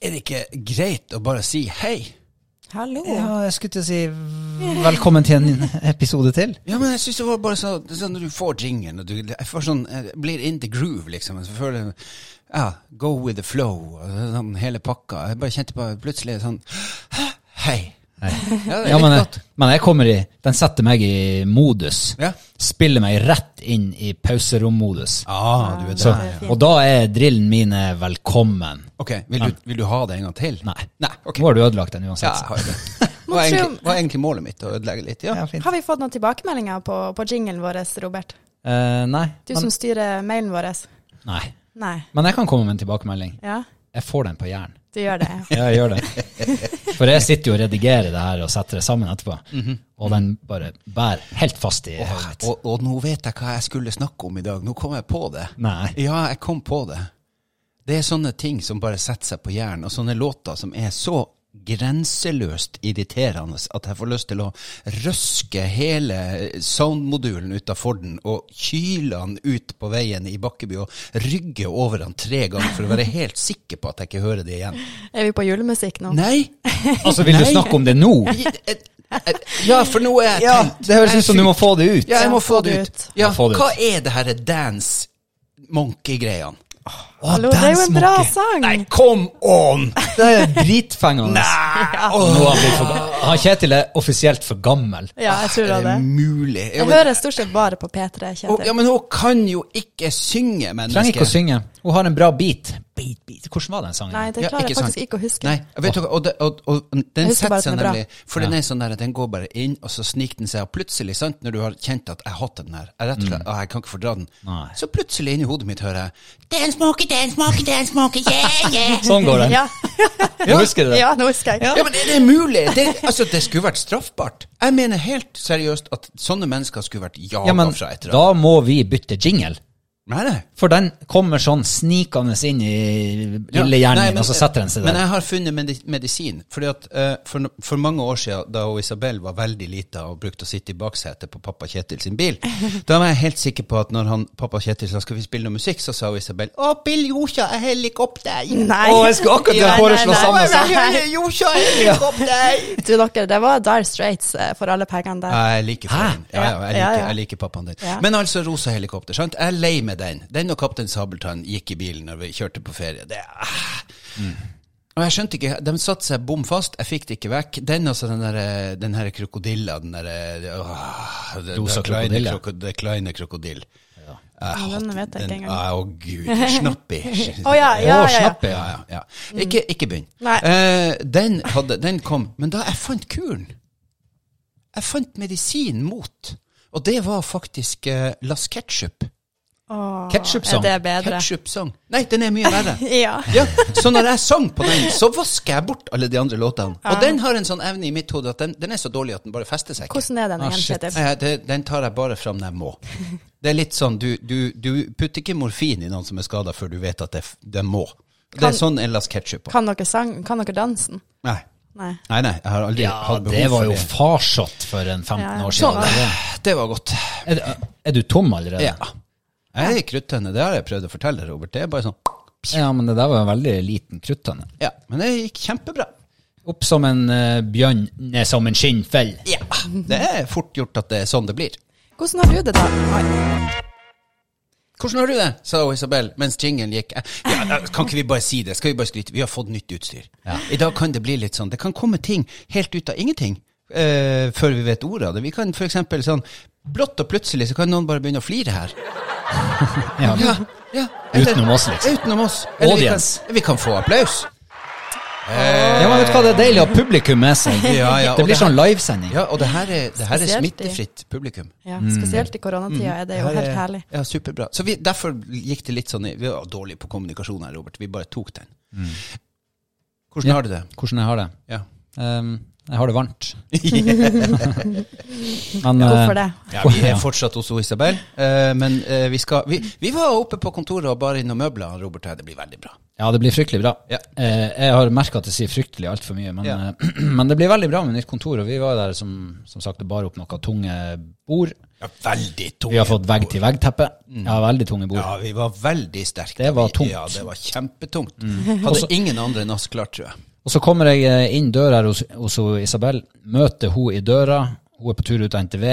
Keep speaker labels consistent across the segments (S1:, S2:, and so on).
S1: er det ikke greit å bare si hei?
S2: Hallo.
S3: Ja, jeg skulle til å si velkommen til en episode til.
S1: Ja, men jeg syns det var bare så, det er sånn Når du får jingen og du jeg får sånn, jeg blir in the groove, liksom. Jeg føler ja, Go with the flow og sånn hele pakka. Jeg bare kjente på plutselig sånn «Hæ? Hei. Ja, det er
S3: Ja, men
S1: litt godt.
S3: jeg, men jeg kommer i Den setter meg i modus.
S1: Ja.
S3: Spiller meg rett inn i pauserom-modus.
S1: Ah, du er
S3: eh, Så,
S1: der. ja.
S3: og da er drillen min er velkommen.
S1: Ok, vil du, vil du ha det en gang til?
S3: Nei.
S1: Nei, ok.
S3: Nå har du ødelagt den
S1: Ja,
S3: uansett.
S1: jeg har det. Var egentlig, var egentlig målet mitt å ødelegge litt, ja.
S3: Ja, fint.
S2: Har vi fått noen tilbakemeldinger på, på jinglen vår, Robert?
S3: Eh, nei,
S2: Du
S3: men,
S2: som styrer mailen vår.
S3: nei.
S2: Nei.
S3: Men jeg kan komme med en tilbakemelding.
S2: Ja,
S3: Jeg får den på jern.
S2: du gjør det.
S3: Ja, jeg gjør det. For jeg sitter jo og redigerer det her og setter det sammen etterpå. Og den bare bærer helt fast i hodet mitt.
S1: Og, og nå vet jeg hva jeg skulle snakke om i dag. Nå kom jeg på det.
S3: Nei.
S1: Ja, jeg kom på det. Det er sånne ting som bare setter seg på hjernen, og sånne låter som er så grenseløst irriterende at jeg får lyst til å røske hele soundmodulen ut av Forden og kyle han ut på veien i Bakkeby og rygge over han tre ganger for å være helt sikker på at jeg ikke hører det igjen.
S2: Er vi på julemusikk nå?
S1: Nei!
S3: Altså, vil du
S1: Nei.
S3: snakke om det nå?
S1: Ja, for nå er jeg
S3: Ja,
S1: tent.
S3: det høres ut som du må få det ut.
S1: Ja, jeg må
S2: Ja,
S1: få det ut. Ja,
S3: Ja, få det ut.
S1: hva er det her dance monkey-greiene?
S3: Å,
S2: Hallo, det er jo en bra
S3: dance monkey.
S2: sang!
S1: Nei, come on!
S3: Det er dritfengende.
S1: Nei!
S3: Nå har han blitt for gammel. Han Kjetil er offisielt for gammel.
S2: Ja, jeg tror
S1: Er
S2: det.
S1: det mulig? Ja,
S2: Jeg
S1: men,
S2: hører stort sett bare på P3,
S1: og, ja,
S2: Kjetil.
S1: men hun kan jo ikke synge, menneske.
S3: Trenger ikke å synge. Hun har en bra beat. Beat, beat. Hvordan var den sangen?
S2: Nei, det
S1: Ja,
S2: klarer jeg
S1: ikke sant.
S2: faktisk ikke å huske.
S1: Nei, jeg vet du, hva, og, det- og, og den
S2: Jeg husker
S1: setter
S2: bare at
S1: seg
S2: den er bra.
S1: nemlig For den er sånn der, at den går bare inn, og så sniker den seg, og plutselig, sant, når du har kjent at jeg hater den her, jeg rett og slett, «Å, jeg kan ikke fordra den,
S3: Mm. Nei.
S1: så plutselig inni hodet mitt hører jeg Dance monkey, dance monkey, dance monkey, yeah, yeah.
S3: Sånn går den.
S2: Ja.
S3: Nå husker du det.
S2: ja, nå husker jeg.
S1: Ja, men er det mulig? Det, altså, det skulle vært straffbart. Jeg mener helt seriøst at sånne mennesker skulle vært jaga
S3: Ja, men
S1: fra et eller
S3: da må vi bytte jingle.
S1: Nei, nei.
S3: For den kommer sånn snikende inn i
S1: Ja,
S3: lille
S1: nei,
S3: hjernen min,
S1: men-
S3: og så setter den seg
S1: Men
S3: der.
S1: jeg har funnet medi- medisin. Fordi at eh, for, no- for mange år siden, da hun Isabel var veldig lita og brukte å sitte i baksetet på pappa Kjetil sin bil, da var jeg helt sikker på at når han, pappa Kjetil sa skal vi spille noe musikk, så sa hun Isabel Å, Bill Josa er helikopter!
S2: Nei.
S3: Å, jeg skulle akkurat til å
S2: Nei, nei,
S3: foreslå
S2: nei.
S3: samme sak.
S2: Nei.
S1: Josa er helikopter!
S2: Du, dere, det var Dire Straits eh, for alle pengene der.
S1: Jeg liker den. Ja, ja, jeg,
S2: Ja, ja.
S1: liker, jeg liker pappaen din.
S2: Ja.
S1: Men altså, rosa helikopter. sant? Jeg er lei med den. Den og Kaptein Sabeltann gikk i bilen når vi kjørte på ferie. Det ah.
S2: Mm.
S1: Og jeg skjønte ikke, De satte seg bom fast, jeg fikk det ikke vekk. Den altså, den, der, eh, den her krokodilla den der, eh, åh, det-
S3: Rosa
S1: det kleine
S3: krokodille.
S1: kroko- Det kleine krokodille.
S2: Ja, den vet jeg ikke engang.
S1: Å, gud. Snappi.
S2: Å ja, ja,
S3: Å,
S2: ja. ja.
S3: slapp i.
S1: Ja, ja, ja. Ikke, ikke begynn.
S2: Nei.
S1: Eh, den, hadde, den kom, men da jeg fant kuren Jeg fant medisin mot, og det var faktisk eh, Las Ketchup.
S2: Åh,
S3: Ketchup-sang.
S2: Er det bedre?
S1: Ketchup-sang. Nei, den er mye verre.
S2: Ja.
S1: Ja, så når jeg sang på den, så vasker jeg bort alle de andre låtene. Og den har en sånn evne i mitt hode at den, den er så dårlig at den bare fester seg. ikke.
S2: Hvordan er den
S3: Ah,
S2: igjen,
S3: shit.
S2: Kjetil?
S1: Nei, det, den tar jeg bare fram når jeg må. Det er litt sånn, du, du, du putter ikke morfin i noen som er skada, før du vet at det, f- det må. Det
S2: Kan-
S1: er sånn er Las Ketchup.
S2: Kan dere, sang, kan dere dansen?
S1: Nei.
S2: Nei.
S1: Nei, nei, jeg har aldri
S3: Ja,
S1: hatt behov
S3: det var
S1: for
S3: jo
S1: det.
S3: farsott for en 15
S2: Ja.
S3: år
S1: Sånn.
S3: siden.
S1: Det var godt.
S3: Er, er du tom allerede?
S1: Ja. Jeg er kruttønne, det har jeg prøvd å fortelle Robert. Det er bare sånn
S3: Ja, men det der var en veldig liten kruttønne.
S1: Ja, men det gikk kjempebra.
S3: Opp som en eh, bjørn, ned som en skinnfell.
S1: Ja. Det er fort gjort at det er sånn det blir.
S2: Hvordan har du det da? Oi.
S1: Hvordan har du det? sa hun Isabel mens jingelen gikk. Eh, Ja, da kan ikke vi bare si det? Skal vi bare skryte? Vi har fått nytt utstyr. I dag kan det bli litt sånn. Det kan komme ting helt ut av ingenting eh, før vi vet ordet av det. Vi kan for eksempel sånn brått og plutselig så kan noen bare begynne å flire her.
S3: Ja.
S1: Ja, ja.
S3: Utenom oss, liksom.
S1: Utenom oss. Eller vi kan,
S3: Audience.
S1: vi kan få applaus.
S3: ja, men vet du hva, det er deilig å ha publikum med seg.
S1: Ja, ja,
S3: det
S1: og det
S3: blir
S1: her-
S3: sånn livesending.
S1: Ja, og det her er, det her er
S2: Spesielt i-
S1: smittefritt publikum.
S2: Ja, spesielt i koronatida er det jo
S1: Mm. Her er-
S2: helt herlig.
S1: Ja, superbra. Så vi, derfor gikk det litt sånn i- Vi var dårlige på kommunikasjon Mm. her, Robert. Vi bare tok den. Hvordan har du det?
S3: Hvordan jeg har det?
S1: Ja.
S3: Um, Jeg har det varmt. Men,
S2: Hvorfor
S3: eh,
S2: det?
S1: Ja, vi er fortsatt hos Isabel, eh, men eh, vi skal vi, vi var oppe på kontoret og bar inn noen møbler, Robert. her. Det blir veldig bra.
S3: Ja, det blir fryktelig bra.
S1: Ja.
S3: Eh, jeg har merka at jeg sier fryktelig altfor mye, men,
S1: Ja.
S3: eh, men det blir veldig bra med nytt kontor. Og vi var der som, som sagt og bar opp noen tunge bord.
S1: Ja, veldig tungt.
S3: Vi har fått vegg-til-vegg-teppe. Ja, veldig tunge bord.
S1: Mm. Ja, vi var veldig sterke.
S3: Det var
S1: Vi-
S3: tungt.
S1: Ja, det var kjempetungt. Hadde ingen andre enn oss klart, tror jeg.
S3: Og så kommer jeg eh, inn døra her hos, hos hun Isabel, møter hun i døra. Hun er på tur ut av NTV.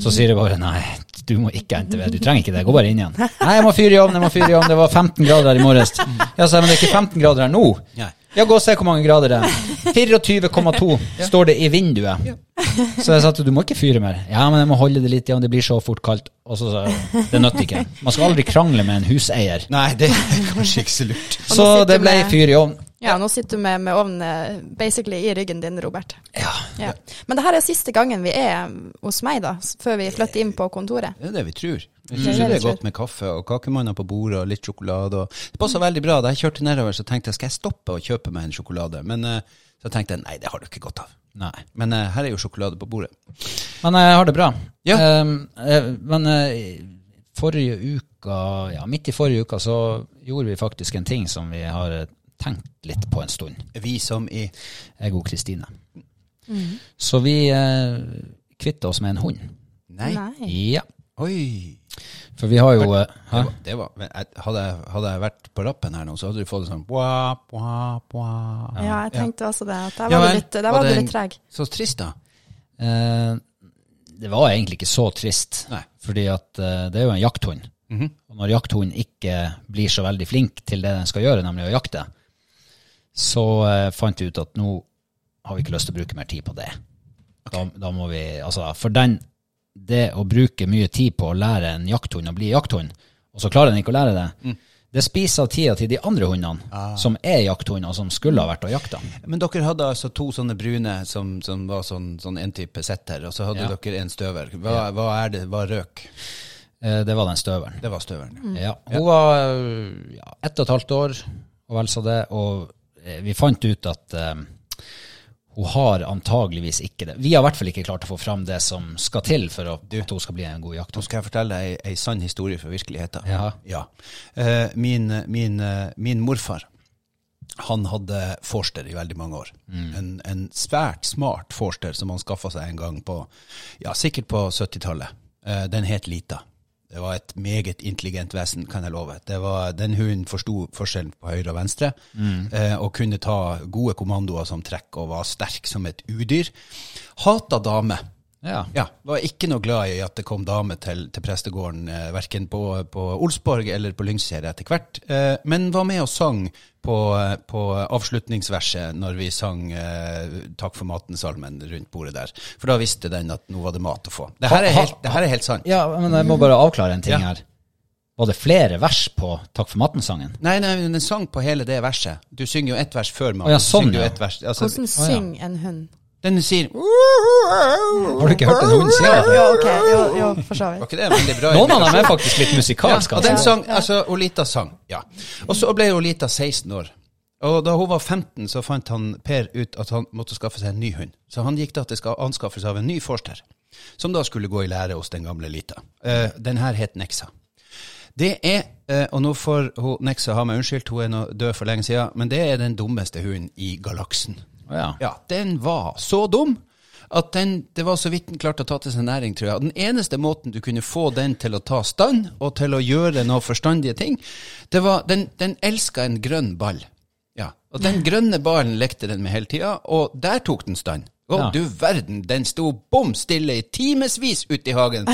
S3: Så sier jeg bare nei, du må ikke ha NTV, du trenger ikke det. Gå bare inn igjen. Nei, jeg må fyre i ovnen, jeg må fyre i ovnen. Det var 15 grader her i morges. Ja, sa jeg, men det er ikke 15 grader her nå.
S1: Nei.
S3: Ja, gå og se hvor mange grader det er. 24,2 står det i vinduet. Så jeg sa til henne, du må ikke fyre mer. Ja, men jeg må holde det litt igjen, det blir så fort kaldt. Og så sa jeg det nytter ikke. Man skal aldri krangle med en huseier.
S1: Nei, det er kanskje ikke så lurt.
S2: Og nå
S3: Så
S2: sitter
S3: det ble
S2: med-
S3: fyr i ovnen.
S2: Ja, nå sitter du med, med ovnen eh, basically i ryggen din, Robert.
S3: Ja,
S2: Ja. Men det her er siste gangen vi er hos meg, da, s- før vi flytter inn på kontoret.
S1: Det er det vi tror. Vi
S2: Det er
S1: synes
S2: det
S1: det er
S2: vi tror.
S1: godt med kaffe og kakemanner på bordet og litt sjokolade. Og det passer veldig bra. Da jeg kjørte nedover, så tenkte jeg skal jeg stoppe og kjøpe meg en sjokolade. Men eh, så tenkte jeg nei, det har du ikke godt av.
S3: nei.
S1: Men eh, her er jo sjokolade på bordet.
S3: Men jeg har det bra.
S1: Ja.
S3: Ehm, eh, men eh, forrige uka, ja, midt i forrige uka, så gjorde vi faktisk en ting som vi har eh, tenkt litt på en stund,
S1: Vi som i
S3: jeg og Kristine. Så vi eh, kvitta oss med en hund.
S1: Nei.
S3: Ja.
S1: Oi.
S3: For vi har jo eh,
S1: Det
S3: hæ?
S1: var, det var, men jeg- hadde, jeg, hadde jeg vært på lappen her nå, så hadde du fått en sånn bwa, bwa, bwa.
S2: Ja, jeg tenkte også det. At der
S1: Ja
S2: var
S1: vel.
S2: du litt, der
S1: Var
S2: var
S1: det
S2: du
S1: en-
S2: litt treg.
S1: Så trist, da.
S3: Eh, Det var egentlig ikke så trist,
S1: Nei.
S3: fordi at eh, det er jo en jakthund. Og når jakthunden ikke blir så veldig flink til det den skal gjøre, nemlig å jakte, så eh, fant vi ut at nå har vi ikke lyst til å bruke mer tid på det. Da, da må vi, altså, for den, det å bruke mye tid på å lære en jakthund å bli jakthund, og så klarer den ikke å lære det, det spiser av tida til de andre hundene som er jakthunder, og som skulle ha vært og jakta.
S1: Men dere hadde altså to sånne brune som, som var sånn, sånn en type setter, og så hadde
S3: Ja.
S1: dere en støver. Hva, hva er det? Hva røk?
S3: Eh, Det var den støvelen.
S1: Det var støveren. Mm. ja.
S3: Ja, hun var øh, ja, ett og et halvt år, og vel så det, og eh, vi fant ut at eh, hun har antageligvis ikke det. Vi har i hvert fall ikke klart å få fram det som skal til for å, at hun skal bli en
S1: Nå
S3: god jakthund.
S1: skal jeg fortelle ei, ei sann historie fra virkeligheten.
S3: Ja.
S1: Eh, min, min, eh, min morfar han hadde forster i veldig mange år. En, en svært smart forster som han skaffa seg en gang på ja, sikkert på 70-tallet. Eh, den het Lita. Det var et meget intelligent vesen, kan jeg love. Det var, den hunden forsto forskjellen på høyre og venstre, eh, og kunne ta gode kommandoer som trekk, og var sterk som et udyr. Hata damer.
S3: Ja.
S1: Ja, var ikke noe glad i at det kom dame til, til prestegården, eh, verken på, på Olsborg eller på Lyngseidet etter hvert, eh, men var med og sang på, eh, på avslutningsverset når vi sang eh, Takk for maten-salmen rundt bordet der. For da visste den at nå var det mat å få. Det her er helt, det her er helt sant.
S3: ja, men jeg må bare avklare en ting
S1: Ja.
S3: her. Var det flere vers på Takk for maten-sangen?
S1: Nei, nei, men den sang på hele det verset. Du synger jo ett vers før maten.
S3: Å ja,
S1: så synger
S3: sånn,
S1: du
S3: ja.
S1: ett vers. Altså,
S2: Hvordan synger en hund?
S1: Den sier
S3: Har du ikke hørt en hund si det?
S2: Jo, ok, jo, jo for så
S1: Var
S2: vidt.
S1: ikke det en veldig bra?
S3: Noen av dem er faktisk litt musikalske.
S1: Ja, og den
S3: altså.
S1: sang, altså Olita sang, ja. Og så ble Olita 16 år. Og da hun var 15, så fant han Per ut at han måtte skaffe seg en ny hund. Så han gikk da til ska- anskaffelse av en ny forster, som da skulle gå i lære hos den gamle Lita. Eh, den her het Nexa. Det er, eh, og nå får hun, Nexa ha meg unnskyldt, hun er nå død for lenge siden, men det er den dummeste hunden i galaksen.
S3: Ja.
S1: Ja, den var så dum at den, det var så vidt den klarte å ta til seg næring, tror jeg. Den eneste måten du kunne få den til å ta stand, og til å gjøre noen forstandige ting, det var Den, den elska en grønn ball. Ja. Og den grønne ballen lekte den med hele tida, og der tok den stand. Å,
S3: Ja.
S1: du verden, den sto bom stille i timevis ute i hagen.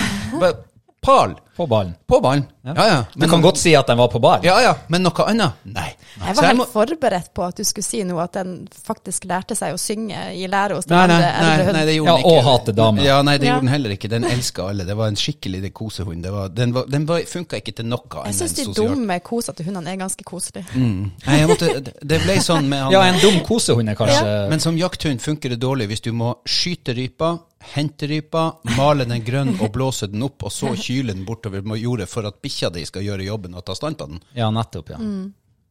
S1: Bare Pal.
S3: På ballen.
S1: På ballen. Ja, ja.
S3: Du kan godt si at den var på ballen.
S1: Ja, ja. Men noe annet? Nei. Så
S2: Jeg var
S1: jeg
S2: helt
S1: må-
S2: forberedt på at du skulle si noe, at den faktisk lærte seg å synge i lære hos den
S1: Nei, nei,
S2: andre
S1: nei,
S2: eldre
S1: nei, det
S2: hunden.
S1: gjorde
S3: Ja,
S1: den ikke.
S3: og hate damer.
S1: Ja, nei, det
S2: Ja.
S1: gjorde den heller ikke. Den elska alle. Det var en skikkelig det kosehund. Det var, den var, den var, funka ikke til noe
S2: Jeg
S1: annet
S2: syns
S1: enn
S2: de
S1: sosialt.
S2: dumme, kosete hundene er ganske koselige.
S1: Nei, jeg måtte, det ble sånn med han
S3: Ja, en dum kosehund er kanskje
S1: Men som jakthund funker det dårlig hvis du må skyte rypa, hente rypa, male den grønn og blåse den opp, og så kyle den bortover med jordet for at bikkja di skal gjøre jobben og ta stand på den.
S3: Ja, nettopp, ja.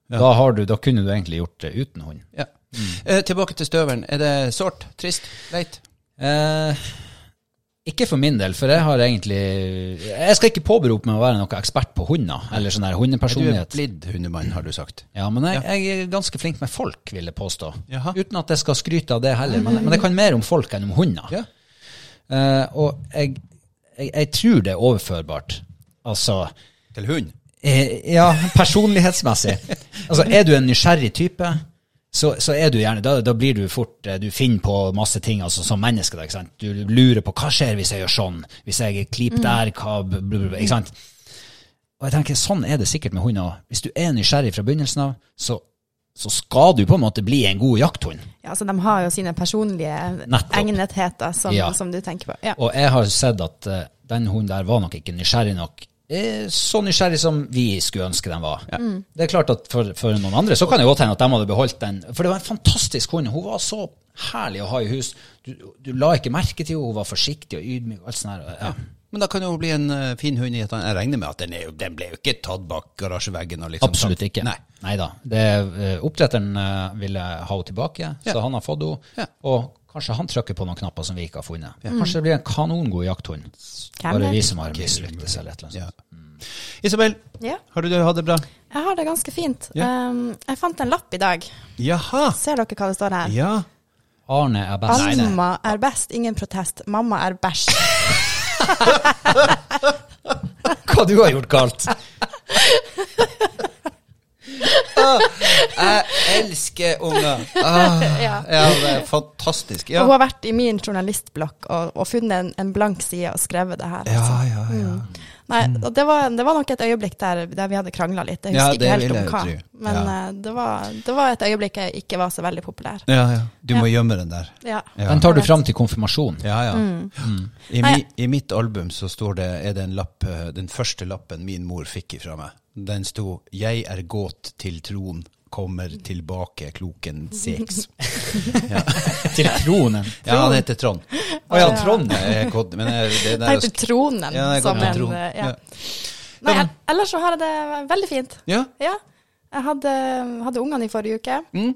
S3: Da, har du, da kunne du egentlig gjort det uten hund.
S1: Ja. Eh, tilbake til støvelen. Er det sårt? Trist? Leit?
S3: Eh, ikke for min del, for jeg har egentlig Jeg skal ikke påberope meg å være noen ekspert på hunder, eller sånn der
S1: Du er
S3: hundepersonlighet.
S1: blitt hundemann, har du sagt.
S3: Ja, men jeg, jeg er ganske flink med folk, vil jeg påstå.
S1: Jaha.
S3: Uten at jeg skal skryte av det heller, men, men jeg kan mer om folk enn om hunder.
S1: Ja.
S3: Eh, og jeg, jeg, jeg tror det er overførbart. Altså
S1: Til hund?
S3: eh, Ja, personlighetsmessig. Altså, er du en nysgjerrig type, så, så er du gjerne Da, da blir du fort eh, Du finner på masse ting altså, som menneske. Da, ikke sant? Du lurer på hva skjer hvis jeg gjør sånn? Hvis jeg klipper der, hva bl- bl- bl- Ikke sant? Og jeg tenker, Sånn er det sikkert med hunder òg. Hvis du er nysgjerrig fra begynnelsen av, så, så skal du på en måte bli en god jakthund.
S2: Ja, altså, de har jo sine personlige
S3: Nettopp.
S2: egnetheter som,
S3: Ja.
S2: som du tenker på. Ja.
S3: Og jeg har sett at eh, den hunden der var nok ikke nysgjerrig nok. Eh, Så nysgjerrig som vi skulle ønske den var.
S2: Mm.
S3: Det er klart at for, for noen andre så kan det godt hende at de hadde beholdt den. For det var en fantastisk hund. Hun var så herlig å ha i hus. Du, du la ikke merke til henne. Hun var forsiktig og ydmyk. og alt sånt der. Ja.
S1: Men da kan jo bli en eh, fin hund i et annet Jeg regner med at den, er jo, den ble jo ikke tatt bak garasjeveggen. Og liksom,
S3: Absolutt ikke.
S1: Nei.
S3: sånn. Neida. Det, eh, oppdretteren eh, ville ha henne tilbake,
S1: Ja.
S3: så han har fått henne.
S1: Ja.
S3: Og kanskje han trykker på noen knapper som vi ikke har funnet. Kanskje det blir en kanongod jakthund.
S2: Hvem
S3: Bare
S2: vet?
S3: vi som har mislyktes eller et eller annet.
S1: Ja. Isabel,
S2: Ja.
S1: har du det, hatt det bra?
S2: Jeg har det ganske fint.
S1: Ja.
S2: Um, jeg fant en lapp i dag.
S1: Jaha.
S2: Ser dere hva det står her?
S1: Ja.
S3: Arne er best.
S2: Alma er best, ingen protest. Mamma er bæsj.
S3: Hva du har gjort galt?
S1: Ah, Jeg elsker unger. Ah, ja. det er fantastisk.
S2: Og
S1: Ja.
S2: hun har vært i min journalistblokk og, og funnet en, en blank side og skrevet det her.
S1: ja,
S2: altså.
S1: ja, ja.
S2: Nei, og det, var, det var nok et øyeblikk der, der vi hadde krangla litt. Jeg
S1: Ja,
S2: husker
S1: det
S2: ikke helt
S1: vil
S2: om
S1: jeg
S2: hva.
S1: jo tro.
S2: Men
S1: Ja.
S2: eh, det, var, det var et øyeblikk jeg ikke var så veldig populær.
S1: ja, ja. Du må gjemme den der.
S2: Ja.
S1: Ja.
S3: Den tar du fram til konfirmasjon.
S1: Ja, ja. I,
S2: Mm. Nei,
S1: mi, I mitt album så står det, er det en lapp, eh, den første lappen min mor fikk ifra meg. Den sto 'Jeg er gått til tron, kommer tilbake kloken seks'.
S3: Til tronen.
S1: Ja, han heter Trond.
S3: Å ja, Trond.
S1: Jeg er gått, men jeg, det der,
S2: Helt til tronen
S1: Ja, jeg er
S2: som
S1: gått til
S2: en
S1: tron.
S2: eh, ja.
S1: Ja.
S2: Nei, jeg- ellers så har jeg det veldig fint.
S1: ja.
S2: Ja. Jeg hadde, hadde ungene i forrige uke.
S1: Mm.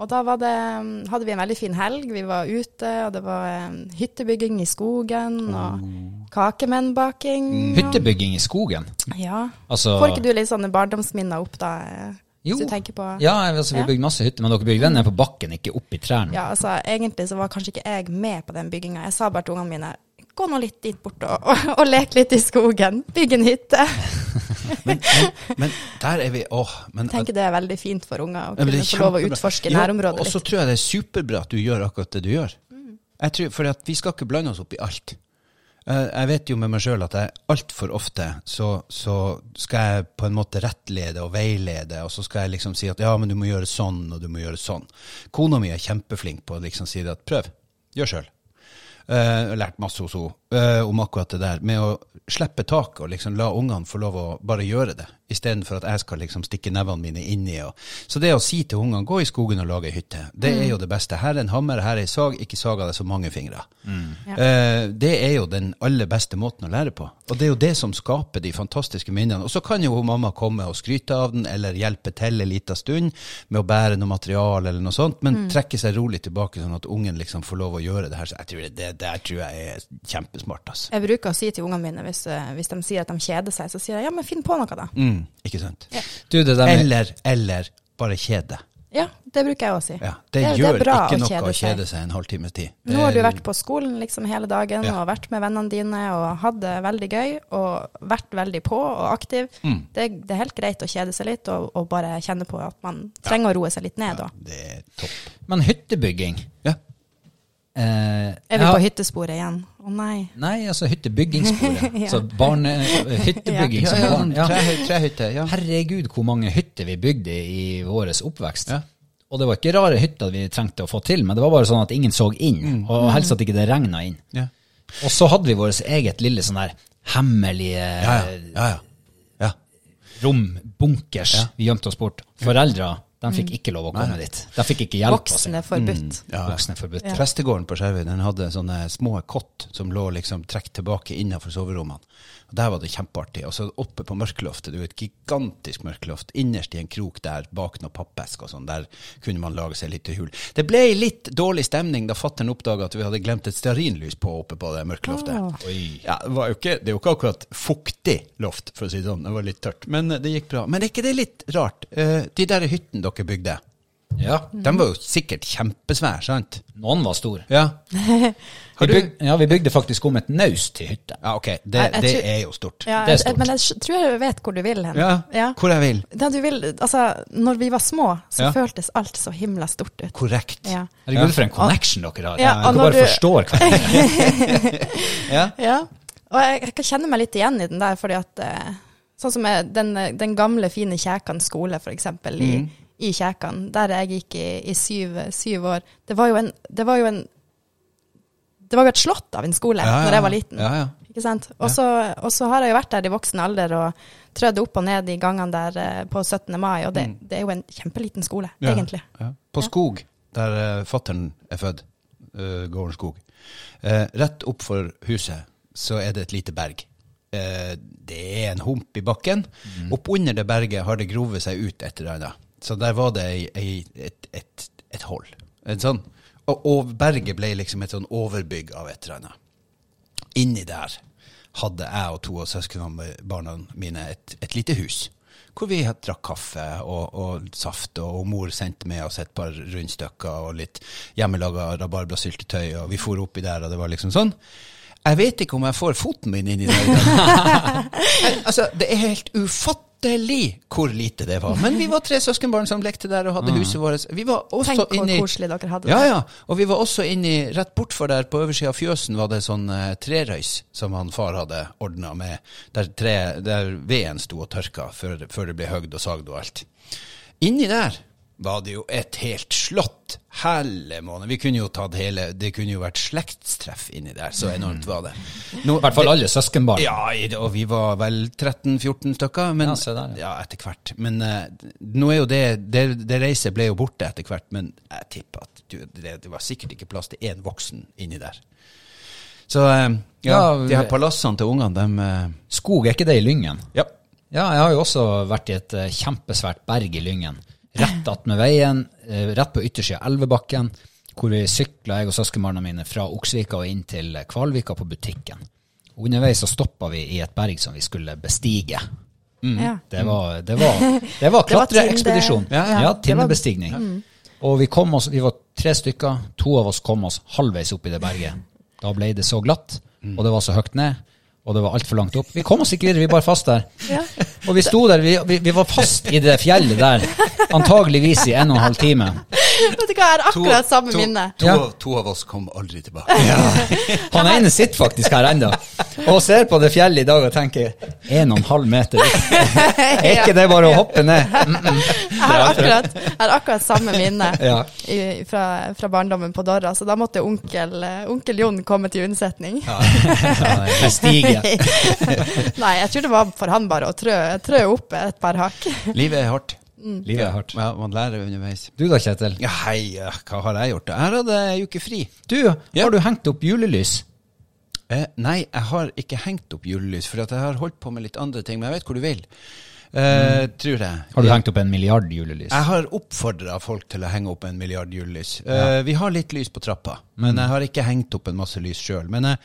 S2: Og da var det, hadde vi en veldig fin helg. Vi var ute, og det var eh, hyttebygging i skogen, og
S1: Mm.
S2: kakemennbaking. og-
S3: Hyttebygging i skogen.
S2: Ja.
S3: Altså,
S2: Får ikke du litt sånne barndomsminner opp da, eh,
S3: Jo.
S2: hvis du tenker på
S3: Ja, altså, vi bygde masse hytter, men dere bygde den ned på bakken, ikke opp i trærne.
S2: Ja, altså egentlig så var kanskje ikke jeg med på den bygginga. Jeg sa bare til ungene mine gå nå litt dit bort og, og, og lek litt i skogen. Bygg en hytte.
S1: Men der er vi Åh. Men,
S2: Jeg tenker det er veldig fint for unger å
S1: Ja, men
S2: kunne
S1: det er
S2: få lov å
S1: kjempebra.
S2: utforske
S1: Ja,
S2: nærområdet
S1: Og så
S2: litt. Mm.
S1: tror jeg det er superbra at du gjør akkurat det du gjør. Jeg tror, fordi at vi skal ikke blande oss opp i alt. Eh, Jeg vet jo med meg sjøl at jeg altfor ofte så, så skal jeg på en måte rettlede og veilede, og så skal jeg liksom si at ja, men du må gjøre sånn, og du må gjøre sånn. Kona mi er kjempeflink på å liksom si det at prøv, gjør sjøl. Eh, Jeg har lært masse hos henne eh, om akkurat det der med å slippe taket og liksom la ungene få lov å bare gjøre det, istedenfor at jeg skal liksom stikke nevene mine inni. Og. Så det å si til ungene gå i skogen og lage ei hytte, det er jo det beste. Her er en hammer, her er ei sag, ikke saga deg så mange fingre.
S2: Ja.
S1: Eh, Det er jo den aller beste måten å lære på. Og det er jo det som skaper de fantastiske minnene. Og så kan jo hun mamma komme og skryte av den, eller hjelpe til en liten stund med å bære noe materiale eller noe sånt, men trekke seg rolig tilbake, sånn at ungen liksom får lov å gjøre det her. Så jeg tror det, det der tror jeg er kjempesmart, altså.
S2: Jeg bruker å si til ungene mine hvis, eh, hvis de sier at de kjeder seg, så sier jeg ja, men finn på noe, da.
S1: Mm, ikke sant?
S3: Du, det der med
S1: Eller, eller bare kjede.
S2: Ja, det bruker jeg å si.
S1: Ja, det,
S2: er-
S1: gjør
S2: er bra
S1: ikke noe å kjede seg en halvtimes tid. Det
S2: Nå har du
S1: er-
S2: vært på skolen liksom hele dagen
S1: Ja.
S2: og vært med vennene dine og hatt det veldig gøy og vært veldig på og aktiv.
S1: Mm.
S2: Det, det er helt greit å kjede seg litt og, og bare kjenne på at man trenger å roe seg litt ned. Og.
S1: Det er topp.
S3: Men hyttebygging
S1: Ja.
S3: eh,
S2: Er vi
S3: ja,
S2: på hyttesporet igjen? Å nei.
S3: Nei, altså hyttebyggingssporet.
S2: Ja.
S3: Så barne, hyttebygging
S1: Ja,
S3: som
S1: ja,
S3: barn. Ja.
S1: trehøy- Trehytte, ja.
S3: Herregud, hvor mange hytter vi bygde i vår oppvekst. Og det var ikke rare hytter vi trengte å få til, men det var bare sånn at ingen så inn.
S2: Mm.
S3: Og helst at ikke det regna inn.
S1: ja.
S3: Og så hadde vi vårt eget lille sånn der hemmelige
S1: Ja, ja. ja, ja. ja.
S3: rom, bunkers, vi gjemte oss bort. Foreldra De fikk ikke lov å komme dit. De fikk ikke hjelp. av seg.
S2: Mm. Voksne forbudt.
S1: Ja.
S3: Voksne forbudt.
S2: Ja.
S1: Prestegården på Skjervøy den hadde sånne små kott som lå liksom trukket tilbake innenfor soverommene. Og Der var det kjempeartig. Og så oppe på mørkeloftet, det var et gigantisk mørkeloft, innerst i en krok der bak noe pappesk og sånn, der kunne man lage seg litt hull. Det ble litt dårlig stemning da fattern oppdaga at vi hadde glemt et stearinlys på oppe på det mørkeloftet.
S2: Ah.
S3: Oi.
S1: Ja, det, var jo ikke, det er jo ikke akkurat fuktig loft, for å si det sånn. Det var litt tørt. Men eh, det gikk bra. Men er ikke det litt rart? Eh, De der hyttene dere bygde,
S3: Ja.
S2: Mm.
S1: de var jo sikkert kjempesvære, sant?
S3: Noen var stor.
S1: Ja.
S3: Vi,
S1: Har du
S3: byg, ja, vi bygde faktisk om et naust til hytte.
S1: Ja, OK. Det,
S2: Jeg- jeg
S1: det
S2: tror-
S1: er jo stort.
S2: Ja,
S3: Det er
S2: jeg-
S3: stort.
S2: Men jeg sk- tror jeg vet hvor du vil hen.
S1: Ja, Hvor jeg vil.
S2: Da du vil, altså, når vi var små, så
S1: Ja.
S2: føltes alt så himla stort ut.
S1: Korrekt.
S2: Ja. Ah.
S3: Herregud, for en connection dere har.
S2: Ja,
S3: dere
S2: og når
S3: bare
S2: du-
S3: forstår hverandre.
S2: Ja, og jeg, jeg kan kjenne meg litt igjen i den der, fordi at eh, sånn som jeg, den, den gamle, fine Kjækan skole, for eksempel,
S1: Mm.
S2: i, i Kjækan, der jeg gikk i, i syv, syv år, det var jo en, det var jo en det var jo et slott av en skole
S1: Ja, ja,
S2: når jeg var
S1: ja.
S2: liten.
S1: Ja, ja.
S2: Ikke sant? Og så, og så har jeg jo vært der i voksen alder og trødd opp og ned i gangene der eh, på 17. mai, og det, det er jo en kjempeliten skole,
S1: Mm. Ja.
S2: egentlig.
S1: Ja. På Skog, der uh, fattern er født, eh, gården Skog, eh, rett opp for huset så er det et lite berg. Eh, det er en hump i bakken. Oppunder det berget har det grovet seg ut et eller annet. Så der var det ei, ei, et, et, et hull. En sånn. Og, og berget ble liksom et sånn overbygg av et eller annet. Inni der hadde jeg og to av søskenbarna mine et, et lite hus. Hvor vi had- drakk kaffe og, og saft, og mor sendte med oss et par rundstykker og litt hjemmelaga rabarbrasyltetøy, og vi for oppi der, og det var liksom sånn. Jeg vet ikke om jeg får foten min inn i det. i dag. Jeg- altså, det er helt ufattelig hvor lite det var. Men vi var tre søskenbarn som lekte der og hadde huset vårt. Vi var også
S2: Tenk hvor
S1: inni
S2: koselig dere hadde
S1: ja,
S2: det.
S1: ja. Og vi var også inni, rett bortfor der, på øversida av fjøsen, var det sånn eh, trerøys som han far hadde ordna med, der, tre, der veden sto og tørka før, før det ble høgd og sagd og alt. Inni der var det jo et helt slott. Helle måned. Vi kunne jo tatt hele Det kunne jo vært slektstreff inni der, så enormt var det. Nå,
S3: I hvert fall alle søskenbarn.
S1: ja, i det- og vi var vel 13-14 stykker. Men,
S3: Ja,
S1: ja,
S3: se der,
S1: etter hvert. Men eh, nå er jo det, det Det reiset ble jo borte etter hvert, men jeg tipper at du, det, det var sikkert ikke plass til én voksen inni der. Så eh, ja,
S3: Ja,
S1: de her palassene til ungene, dem eh,
S3: Skog, er ikke det i Lyngen?
S1: Ja.
S3: Ja, jeg har jo også vært i et eh, kjempesvært berg i Lyngen. Rett attmed veien, eh, rett på yttersida av elvebakken, hvor vi sykla, jeg og søskenbarna mine, fra Oksvika og inn til Kvalvika på butikken. Og underveis så stoppa vi i et berg som vi skulle bestige.
S1: Mm.
S2: Ja.
S3: Det var, det var, det var
S2: var
S3: klatreekspedisjon.
S2: Tinde-
S3: Ja, Mm. ja, Tinnebestigning. Og vi, kom oss, vi var tre stykker. To av oss kom oss halvveis opp i det berget. Da ble det så glatt, og det var så høyt ned, og det var altfor langt opp. Vi kom oss ikke videre, vi var fast der.
S2: Ja.
S3: Og vi sto der, vi, vi, vi var fast i det fjellet der, antageligvis i en og en halv time.
S2: Vet du hva, jeg har akkurat samme minne.
S1: to,
S3: Ja.
S1: av- to av oss kom aldri tilbake.
S3: Han ene sitter faktisk her ennå og ser på det fjellet i dag og tenker en og en halv meter opp. Er ikke det bare å hoppe ned? Mm -mm.
S2: Jeg har akkurat, jeg har akkurat samme minne
S3: Ja.
S2: i, fra, fra barndommen på Dorra, så da måtte onkel, eh, onkel Jon komme til unnsetning.
S3: Bestige.
S2: Nei, jeg tror det var for han bare å trø, trø opp et par hakk.
S1: Livet er hardt.
S2: Mm.
S3: Livet er hardt.
S1: Ja, man lærer underveis.
S3: Du da, Kjetil?
S1: Ja, hei, ja, hva har jeg gjort? da? Jeg hadde ei uke fri.
S3: Du, har du hengt opp julelys?
S1: Eh, nei, jeg har ikke hengt opp julelys, for at jeg har holdt på med litt andre ting. Men jeg vet hvor du vil, eh, tror jeg.
S3: Mm. Har du hengt opp en milliard julelys?
S2: Ah.
S1: Jeg har oppfordra folk til å henge opp en milliard julelys. Eh, vi har litt lys på trappa, men
S3: Mm.
S1: jeg har ikke hengt opp en masse lys sjøl. Men jeg,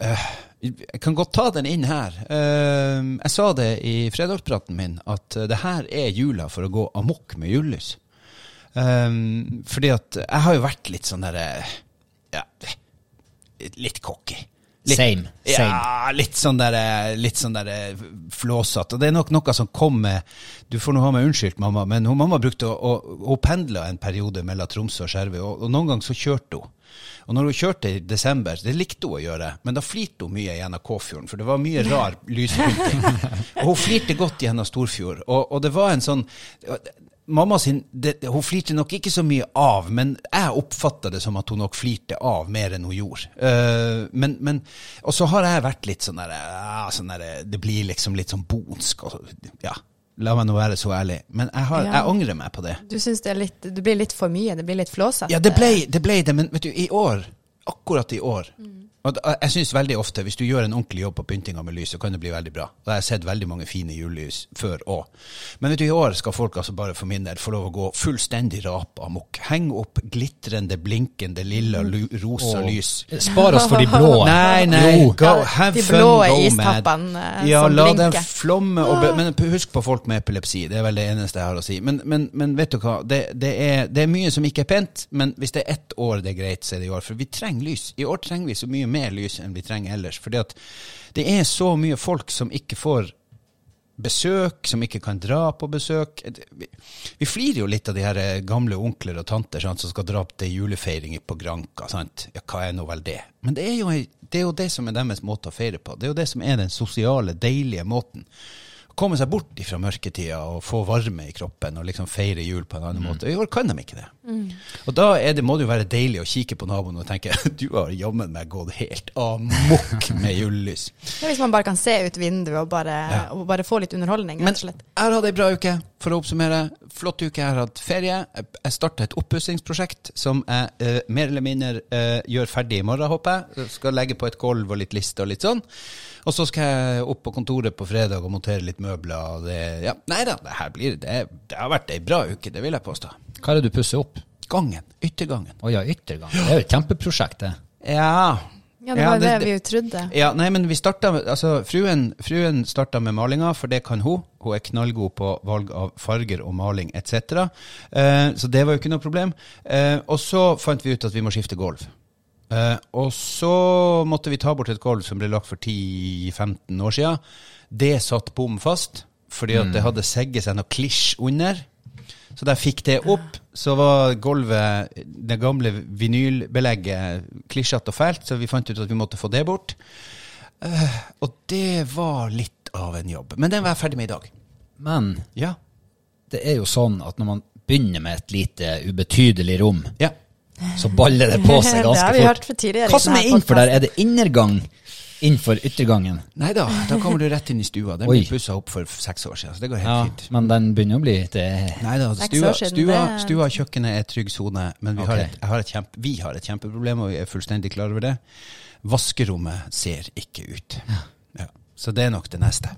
S1: eh, jeg kan godt ta den inn her. Eh, jeg sa det i fredagspraten min, at eh, det her er jula for å gå amok med julelys. Eh, fordi at jeg har jo vært litt sånn derre ja, Litt cocky. Litt,
S3: Same,
S1: Ja, litt sånn der, eh, litt sånn der eh, flåsete. Og det er nok noe som kom med Du får nå ha meg unnskyldt, mamma, men hun, mamma brukte å, å, å pendle en periode mellom Tromsø og Skjervøy, og, og noen ganger så kjørte hun. Og når hun kjørte i desember, det likte hun å gjøre, men da flirte hun mye gjennom Kåfjorden, for det var mye rar lyspynting. og hun flirte godt gjennom Storfjord, og, og det var en sånn Mamma sin, det, Hun flirte nok ikke så mye av, men jeg oppfatta det som at hun nok flirte av mer enn hun gjorde. Eh, men, men, ah, og så har jeg vært litt sånn der, ja, sånn der Det blir liksom litt sånn bonsk. Og, ja, La meg nå være så ærlig. Men jeg, har,
S2: Ja.
S1: jeg angrer meg på det.
S2: Du syns det, er litt- det blir litt for mye? Det blir litt flåsete?
S1: Ja, det ble, det ble det, men vet du, i år, akkurat i år og da- Jeg syns veldig ofte, hvis du gjør en ordentlig jobb på pyntinga med lys, så kan det bli veldig bra. Og jeg har sett veldig mange fine julelys før òg. Men vet du, i år skal folk altså bare for min del få lov å gå fullstendig rap amok. Henge opp glitrende, blinkende, lilla, lu, rosa
S3: Og-
S1: lys.
S3: Spar oss for de blå.
S1: Nei, nei.
S3: Jo.
S1: Go,
S2: Ja,
S1: have
S2: de
S1: fun,
S2: blå
S1: go
S2: istappene,
S1: mad.
S2: eh,
S1: Ja,
S2: som
S1: la
S2: blinker. Ah.
S1: den flomme og be- Men husk på folk med epilepsi, det er vel det eneste jeg har å si. Men, men, men vet du hva, det, det, er, det er mye som ikke er pent, men hvis det er ett år det er greit, så er det i år. For vi trenger lys. I år trenger vi så mye mer lys enn vi trenger ellers. Fordi at det er så mye folk som ikke får besøk, som ikke kan dra på besøk. Vi, vi flirer jo litt av de her eh, gamle onkler og tanter sant, som skal dra til julefeiring på Granka. Sant? Ja, hva er nå vel det? Men det er, jo, ei- det er jo det som er deres måte å feire på. Det er jo det som er den sosiale, deilige måten. Å komme seg bort ifra mørketida og få varme i kroppen og liksom feire jul på en annen måte. I år kan de ikke det. Og da er det, må det jo være deilig å kikke på naboen og tenke du har jammen meg gått helt amok med julelys.
S2: Ja, Hvis liksom man bare kan se ut vinduet og bare, og bare få litt underholdning,
S1: Men
S2: rett og slett.
S1: jeg har hatt ei bra uke, for å oppsummere. Flott uke. Jeg har hatt ferie. Jeg- Jeg starta et oppussingsprosjekt som jeg eh, mer eller mindre eh, gjør ferdig i morgen, håper jeg. Skal legge på et gulv og litt liste og litt sånn. Og så skal jeg opp på kontoret på fredag og montere litt møbler. Og det, ja. Nei da, det her blir det. Det har vært ei bra uke, det vil jeg påstå.
S3: Hva er det du pusser opp?
S1: Gangen. Yttergangen.
S3: Å ja, yttergang. Det er jo et kjempeprosjekt, det.
S1: Ja.
S2: Ja, det var jo det,
S1: det-
S2: vi jo trodde.
S1: Ja, nei, men vi starta med- altså, fruen, fruen starta med malinga, for det kan hun. Hun er knallgod på valg av farger og maling etc. Eh, så det var jo ikke noe problem. Eh, og så fant vi ut at vi må skifte gulv. Eh, og så måtte vi ta bort et gulv som ble lagt for 10-15 år siden. Det satt bom fast, fordi at det hadde segget seg noe klisj under. Så da jeg fikk det opp, så var gulvet, det gamle vinylbelegget, klisjete og fælt, så vi fant ut at vi måtte få det bort. Eh, og det var litt av en jobb. Men den var jeg ferdig med i dag.
S3: Men
S1: Ja.
S3: det er jo sånn at når man begynner med et lite ubetydelig rom,
S1: ja.
S3: så baller det på seg
S2: Det har
S3: ganske
S2: vi
S3: fort.
S2: hørt for tidligere. i
S3: Hva som
S2: denne
S3: er innenfor der?
S2: podcasten.
S3: Er det innergang innenfor yttergangen?
S1: Nei da, da kommer du rett inn i stua. Den
S3: Oi.
S1: ble pussa opp for seks år siden, så det går helt
S3: Ja,
S1: fint.
S3: men den begynner å bli det er-
S1: Nei da,
S2: Seks
S1: stua,
S2: år siden,
S1: stua,
S2: det-
S1: stua og kjøkkenet er trygg sone, men vi har,
S3: Ok.
S1: et, jeg har et kjempe, vi har et kjempeproblem, og vi er fullstendig klar over det. Vaskerommet ser ikke ut. Ja. Så det er nok det neste.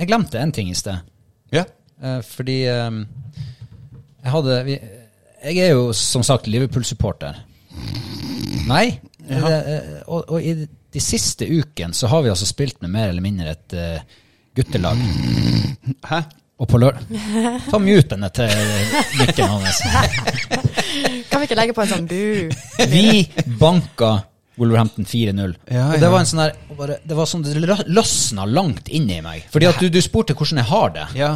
S3: Jeg glemte en ting i sted.
S1: Ja.
S3: Eh, fordi eh, jeg hadde vi, Jeg er jo som sagt Liverpool-supporter. Nei. det- eh, og, og i de siste ukene så har vi altså spilt med mer eller mindre et eh, guttelag.
S1: Hæ?
S3: Og på lør... Ta mutene til eh, mikken hans.
S2: Kan vi ikke legge på en sånn bu?
S3: Vi banka Wolverhampton 4-0.
S1: Ja,
S3: og
S1: ja.
S3: det var en sånn der og bare, Det var sånn det lø- løsna langt inni meg. Fordi at du, du spurte hvordan jeg har det.
S1: Ja.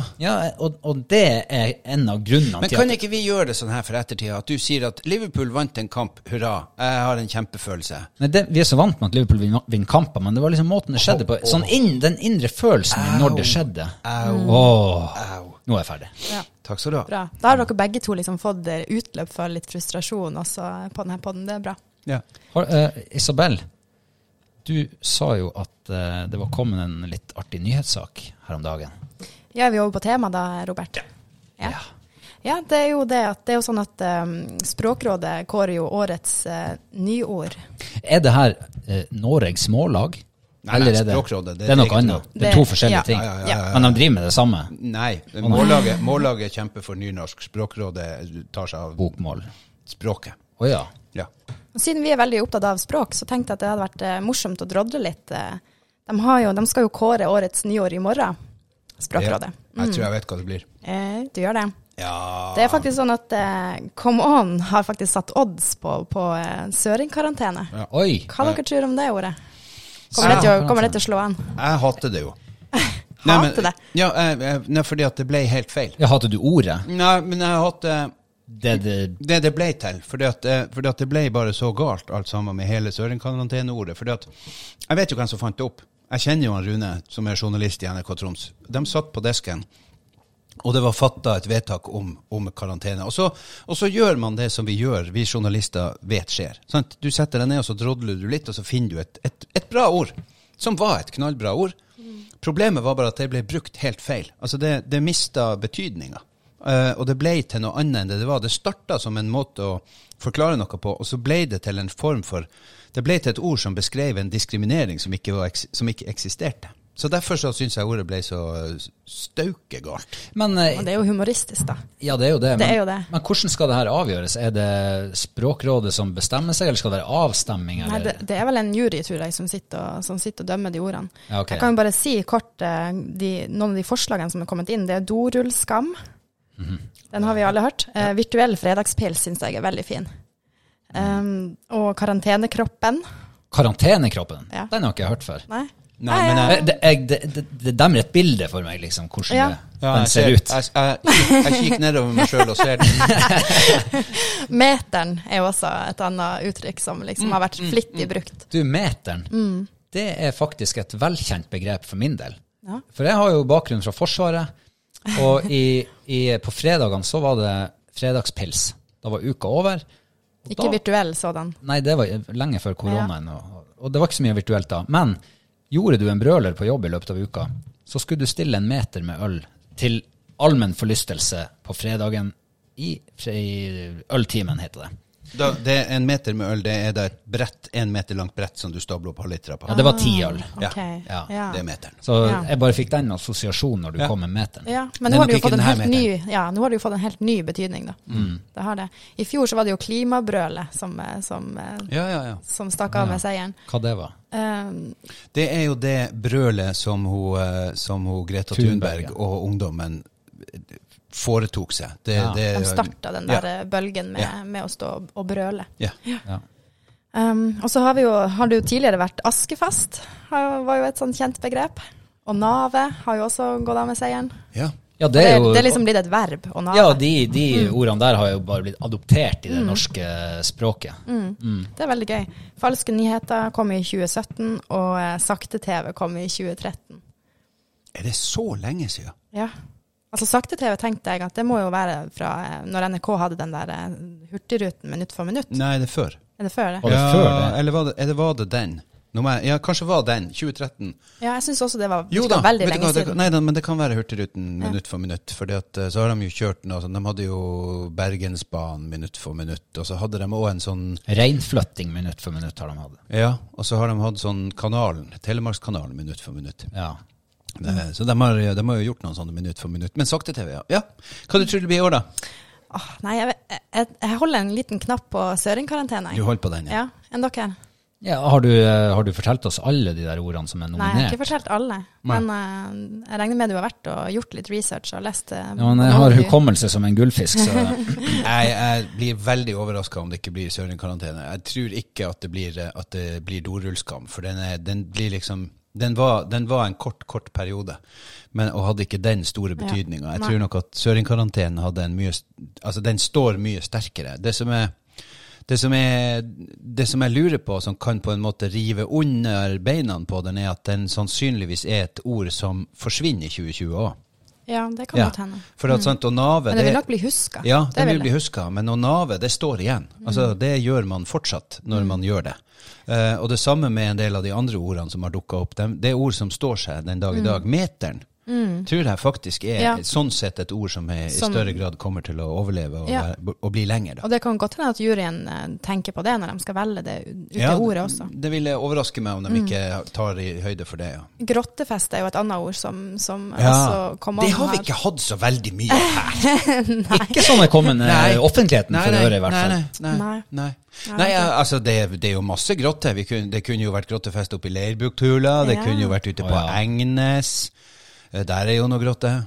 S3: og, og det er en av grunnene
S1: Men
S3: til at
S1: kan ikke vi gjøre det sånn her for ettertida, at du sier at Liverpool vant en kamp, hurra, jeg har en kjempefølelse.
S3: Nei, det, Vi er så vant med at Liverpool vinner, vinner kamper, men det var liksom måten det skjedde på. Sånn inn, Den indre følelsen min når det skjedde. Åh,
S1: Au.
S3: nå er jeg ferdig.
S2: Ja,
S1: Takk skal du ha.
S2: bra. Da har dere begge to liksom fått eh, utløp for litt frustrasjon også på denne podden. Det er bra.
S1: Ja.
S3: Har, eh, Isabel, du sa jo at eh, det var kommet en litt artig nyhetssak her om dagen.
S2: Ja, er vi over på tema da, Robert? Ja.
S3: Ja.
S2: Ja, det er jo det at det er jo sånn at eh, Språkrådet kårer jo årets eh, nyord.
S3: Er det her eh, Noregs Mållag?
S1: Nei, nei,
S3: Eller er det,
S1: Språkrådet, det
S3: det,
S1: er
S3: er noe
S1: eget lag.
S3: annet. Det er
S2: Det-
S3: to forskjellige
S2: ja.
S3: ting.
S1: Ja, ja, ja, ja, Mm. ja.
S3: Men de driver med det samme.
S1: Nei, mållaget, mållaget kjemper for nynorsk. Språkrådet tar seg av
S3: Bokmål.
S1: språket.
S3: Å ja.
S1: Ja.
S2: Og siden vi er veldig opptatt av språk, så tenkte jeg at det hadde vært eh, morsomt å drodle litt. eh. De, har jo, de skal jo kåre årets nyår i morgen, Språkrådet.
S1: Jeg tror jeg vet hva det blir.
S2: Eh, du gjør det.
S1: Ja.
S2: Det er faktisk sånn at eh, Come On har faktisk satt odds på, på eh, søringkarantene.
S1: Ja.
S3: Oi.
S2: Hva dere tror om det ordet? Kommer det til å, kommer det til å slå an?
S1: Jeg hater det jo. Nei, men-
S2: Hater det.
S1: Ja, jeg- jeg- nei, fordi at det ble helt feil.
S3: Ja, hadde du ordet?
S1: Nei, men jeg hater
S3: Det, det,
S1: det det ble til. Fordi at, eh, fordi at det ble bare så galt alt sammen med hele Sørenkaranteneordet. Fordi at Jeg vet jo hvem som fant det opp. Jeg kjenner jo han Rune, som er journalist i NRK Troms. De satt på desken. Og det var fatta et vedtak om, om karantene. Og så, og så gjør man det som vi gjør, vi journalister vet skjer. Sant? Du setter deg ned, og så drodler du litt, og så finner du et, et, et bra ord. Som var et knallbra ord. Problemet var bare at det ble brukt helt feil. Altså det, det mista betydninga. Eh, og det ble til noe annet enn det det var. Det starta som en måte å forklare noe på, og så ble det til en form for Det ble til et ord som beskrev en diskriminering som ikke, var, eks- som ikke eksisterte. Så derfor så syns jeg ordet ble så eh, staukegalt.
S3: Men, eh,
S2: Og det er jo humoristisk, da.
S3: ja, det er jo det.
S2: Det
S3: men,
S2: er jo det.
S3: men hvordan skal det her avgjøres? Er det Språkrådet som bestemmer seg, eller skal det være avstemming?
S2: Nei,
S3: Eller?
S2: det, det er vel en jury, tror jeg, som sitter og, som sitter og dømmer de ordene.
S3: Ja, ok.
S2: Jeg kan jo bare si kort eh, de, noen av de forslagene som er kommet inn. Det er dorullskam. Den har vi alle hørt. Eh, virtuell fredagspils syns jeg er veldig fin. Um, og karantenekroppen.
S3: Karantenekroppen?
S2: Ja.
S3: Den har ikke jeg hørt før.
S2: Nei.
S1: Nei, men jeg-
S3: Eh, Det, jeg, det, det, det demmer et bilde for meg, liksom, hvordan
S2: Ja.
S3: det, den ser
S1: jeg,
S3: ut.
S1: Jeg, jeg, jeg kikker nedover meg sjøl og ser den.
S2: Meteren er jo også et annet uttrykk som liksom har vært flittig brukt.
S3: Du, meteren,
S2: Mm.
S3: det er faktisk et velkjent begrep for min del.
S2: Ja.
S3: For jeg har jo bakgrunn fra Forsvaret, og i, i, på fredagene så var det fredagspils. Da var uka over. og
S2: Ikke
S3: da-
S2: virtuell sådan.
S3: Nei, det var lenge før koronaen, og, og det var ikke så mye virtuelt da. Men gjorde du en brøler på jobb i løpet av uka, så skulle du stille en meter med øl til allmenn forlystelse på fredagen i, fre- i øltimen, heter det.
S1: Da, det er en meter med øl, det er da et brett, en meter langt brett som du stabler opp halvlitera på.
S3: Ja, det var ti øl.
S1: Ja.
S2: Ok.
S3: Ja,
S2: Ja.
S1: Det er meteren.
S3: Så
S2: Ah. Ja.
S3: jeg bare fikk den assosiasjonen når du
S1: Ja.
S3: kom med meteren.
S2: Ja,
S1: Det er
S2: men nå har,
S1: nok
S2: det jo
S1: ikke
S2: fått en
S1: den her
S2: helt ny, ja, nå har det jo fått en helt ny betydning, da. Det har det. I fjor så var det jo klimabrølet som, eh, som, eh,
S1: Ja, ja, ja.
S2: som stakk av med seieren.
S3: Hva det var?
S2: Um,
S1: Det er jo det brølet som hun, eh, som hun Greta
S3: Thunberg,
S1: Thunberg
S3: ja.
S1: og ungdommen foretok seg. Det,
S3: Ja.
S1: det,
S2: de starta den der eh, bølgen med,
S1: Ja.
S2: med å stå og- og brøle.
S1: Ja.
S3: Ja.
S2: Um, og så har, vi jo, har det jo tidligere vært askefast, har, var jo et sånn kjent begrep. Og navet har jo også gått av med seieren.
S1: Ja.
S3: Ja,
S2: Det
S3: det
S2: er,
S3: er jo
S2: det er liksom Mm. blitt et verb, å nave.
S3: Ja, de, de ordene der har jo bare blitt adoptert i
S2: Mm.
S3: det norske språket.
S2: Det er veldig gøy. Falske nyheter kom i 2017, og eh, sakte-TV kom i 2013.
S1: Er det så lenge siden?
S2: Ja. Altså sakte-TV tenkte jeg at det må jo være fra eh, når NRK hadde den der eh, Hurtigruten minutt for minutt.
S1: Nei, det er før.
S2: Er det før det?
S3: Var det før det?
S1: Eller var det, eller var det den? Nå må jeg- Ja, kanskje var den. 2013.
S2: Ja, jeg syns også det var
S1: Jo
S2: det
S1: da,
S2: var veldig
S1: vet du
S2: lenge
S1: hva, det,
S2: siden.
S1: nei, da, men det kan være Hurtigruten minutt for minutt. For så har de jo kjørt noe sånn, De hadde jo Bergensbanen minutt for minutt, og så hadde de òg en sånn
S3: Reinflytting minutt for minutt har de hatt.
S1: Ja, og så har de hatt sånn Kanalen, Telemarkskanalen minutt for minutt.
S3: Ja.
S2: Mm.
S1: Det, så de har, eh, de har jo gjort noen sånne minutt for minutt. Men sakte-TV, ja. ja. Hva du tror du det blir i år, da?
S2: Åh, nei, jeg, vet- jeg, jeg holder en liten knapp på søringkarantene.
S1: Du
S2: jeg.
S1: holder på den, ja?
S2: Ja, enn dere?
S3: Ja, har, du, eh, har du fortalt oss alle de der ordene som er
S2: Nei, jeg har
S3: nominert?
S2: ikke fortalt alle. Men eh, jeg regner med du har vært og gjort litt research og lest eh,
S3: ja, men jeg
S2: noe
S3: har
S2: du-
S3: hukommelse som en gullfisk, så
S1: Jeg, jeg blir veldig overraska om det ikke blir søringkarantene. Jeg tror ikke at det blir, eh, at det blir dorullskam, for den, er, den blir liksom den var, den var en kort, kort periode, men, og hadde ikke den store
S2: Ja.
S1: betydninga. Jeg
S2: Nei.
S1: tror nok at søringkarantenen hadde en mye s- Altså, den står mye sterkere. Det som er det som, er, det som jeg lurer på, som kan på en måte rive under beina på den, er at den sannsynligvis er et ord som forsvinner i 2020 òg.
S2: Ja, det kan
S1: Ja.
S2: godt hende. Mm.
S1: For at, sant, å nave
S2: Men det vil
S1: det-
S2: nok bli huska.
S1: ja,
S2: det
S1: den
S2: Mm.
S1: vil
S2: det.
S1: bli huska, men å nave, det står igjen. Altså, det gjør man fortsatt
S2: Mm.
S1: når man gjør det. Eh, og det samme med en del av de andre ordene som har dukka opp. Dem, det er ord som står seg den dag i dag. Meteren tror jeg faktisk er
S2: Mm. Ja.
S1: sånn sett et ord som er, i
S2: Som-
S1: større grad kommer til å overleve og,
S2: Ja.
S1: være- og bli lenger. Da.
S2: Og det kan godt hende at juryen eh, tenker på det når de skal velge det ut ut i
S1: Ja,
S2: ordet også. Mm.
S1: Det ville overraske meg om de ikke tar i høyde for det. Ja.
S2: Grottefest er jo et annet ord som, som også kom om
S1: Det har vi
S2: her.
S1: ikke hatt så veldig mye av her.
S3: Ikke sånn er kommet
S1: Nei.
S3: eh, offentligheten for øre, i hvert fall.
S1: Nei, nei, nei.
S2: Nei.
S1: nei.
S2: Nei,
S1: Nei,
S2: ok.
S1: ja, altså det, er- det er jo masse grotte. Vi kunne, det kunne jo vært grottefest oppe i Leirbuktula, det
S2: Ja.
S1: kunne jo vært ute
S3: Å,
S1: på
S3: ja.
S1: Engnes. Eh, Der er jo noe grotte.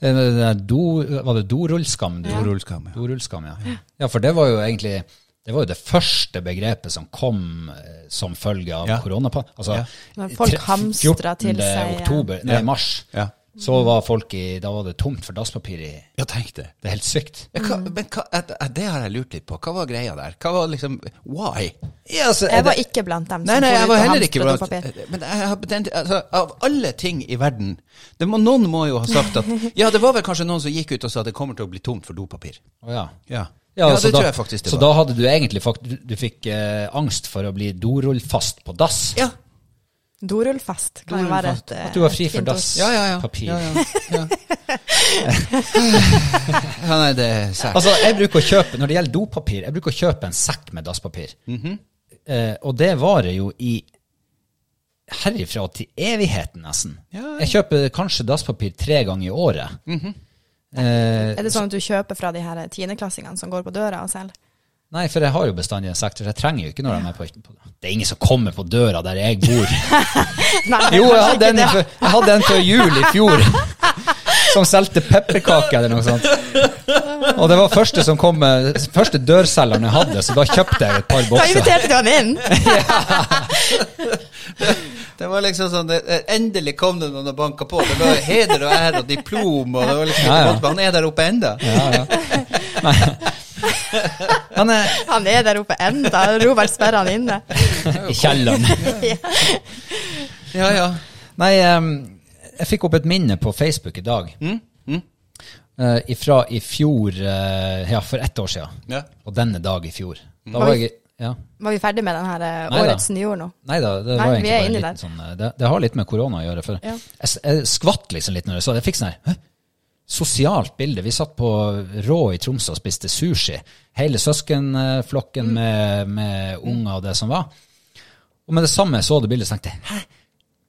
S3: Eh, det der Do, var det dorullskam? du-
S1: Dorullskam, ja.
S3: Dorullskam, ja. Ja, for det var jo egentlig det var jo det første begrepet som kom eh, som følge av
S1: Ja.
S3: koronapa. Altså,
S1: Ja.
S2: Men folk
S3: tre-
S2: hamstra til
S3: 14.
S2: seg, ja.
S3: oktober, nei,
S1: Ja.
S3: mars,
S1: Ja.
S3: så var folk i Da var det tomt for dasspapir i
S1: Ja, tenk det.
S3: Det er helt sykt.
S1: Ja, hva,
S2: Mm.
S1: men hva, eh, eh, det har jeg lurt litt på. Hva var greia der? Hva var liksom Why?
S3: Ja, altså, er
S2: Jeg var
S3: det-
S2: ikke blant dem
S1: Nei,
S2: som
S1: nei,
S2: får
S1: jeg
S2: ut
S1: var
S2: og
S1: heller
S2: hamstret
S1: ikke blant
S2: dopapir.
S1: Men jeg har den, altså, Av alle ting i verden det må, Noen må jo ha sagt at Ja, det var vel kanskje noen som gikk ut og sa at det kommer til å bli tomt for dopapir.
S3: Å, ja.
S1: Ja,
S3: Ja,
S1: ja,
S3: så
S1: det
S3: da,
S1: tror jeg faktisk det
S3: så
S1: var.
S3: da hadde du egentlig fakt, du, du fikk eh, angst for å bli dorullfast på dass.
S1: Ja,
S2: Dorullfest kan jo være et
S3: At du var fri
S2: et
S3: for
S2: fint
S3: dass.
S1: Ja, ja, ja.
S3: Papir.
S1: Ja, ja, ja. ja nei, det er sært.
S3: Altså, jeg bruker å kjøpe, Når det gjelder dopapir, jeg bruker å kjøpe en sekk med dasspapir.
S1: Mhm.
S3: eh, og det varer jo i herifra til evigheten, nesten.
S1: Ja, Mm. ja.
S3: Jeg kjøper kanskje dasspapir tre ganger i året. eh,
S2: Er det sånn at du kjøper fra de her tiendeklassingene som går på døra og selger?
S3: nei, for jeg har jo bestandig en sekk, så jeg trenger jo ikke når de er på, på Det er ingen som kommer på døra der jeg bor.
S2: Nei, det er
S3: Jo, jeg
S2: kanskje
S3: hadde
S2: ikke
S3: en,
S2: det.
S3: før- jeg hadde en før jul i fjor som solgte pepperkaker eller noe sånt. Og det var første, som kom, eh, første dørselgeren jeg hadde, så da kjøpte jeg et par
S2: Da
S3: bokser.
S2: inviterte du han inn!
S1: Det var liksom sånn, det, Endelig kom det noen og banka på. Det var heder og ære og diplom. og det var liksom,
S3: Ja, ja.
S1: Han er der oppe enda.
S3: Ja, ja. Nei. Men eh,
S2: Han er der oppe enda, Robert sperrer han inne.
S3: i kjelleren.
S1: Ja, ja.
S3: Nei, em, jeg fikk opp et minne på Facebook i dag. Eh, fra i fjor eh, Ja, for ett år siden.
S1: Ja.
S3: Og denne dag i fjor. Da
S2: Oi.
S3: var jeg ja.
S2: Var vi ferdig med den her eh,
S3: Nei da.
S2: årets nyord nå?
S3: Nei da, det
S2: Nei,
S3: var
S2: vi
S3: egentlig
S2: er
S3: bare en
S2: inni
S3: liten
S2: der.
S3: sånn eh, det, det har litt med korona å gjøre. For
S2: Ja.
S3: jeg, s- jeg skvatt liksom litt når jeg så det. Jeg fikk sånn her Hæ? Sosialt bilde. Vi satt på Rå i Tromsø og spiste sushi. Hele søskenflokken
S2: Mm.
S3: med, med unger og det som var. Og med det samme jeg så det bildet, så tenkte jeg Hæ?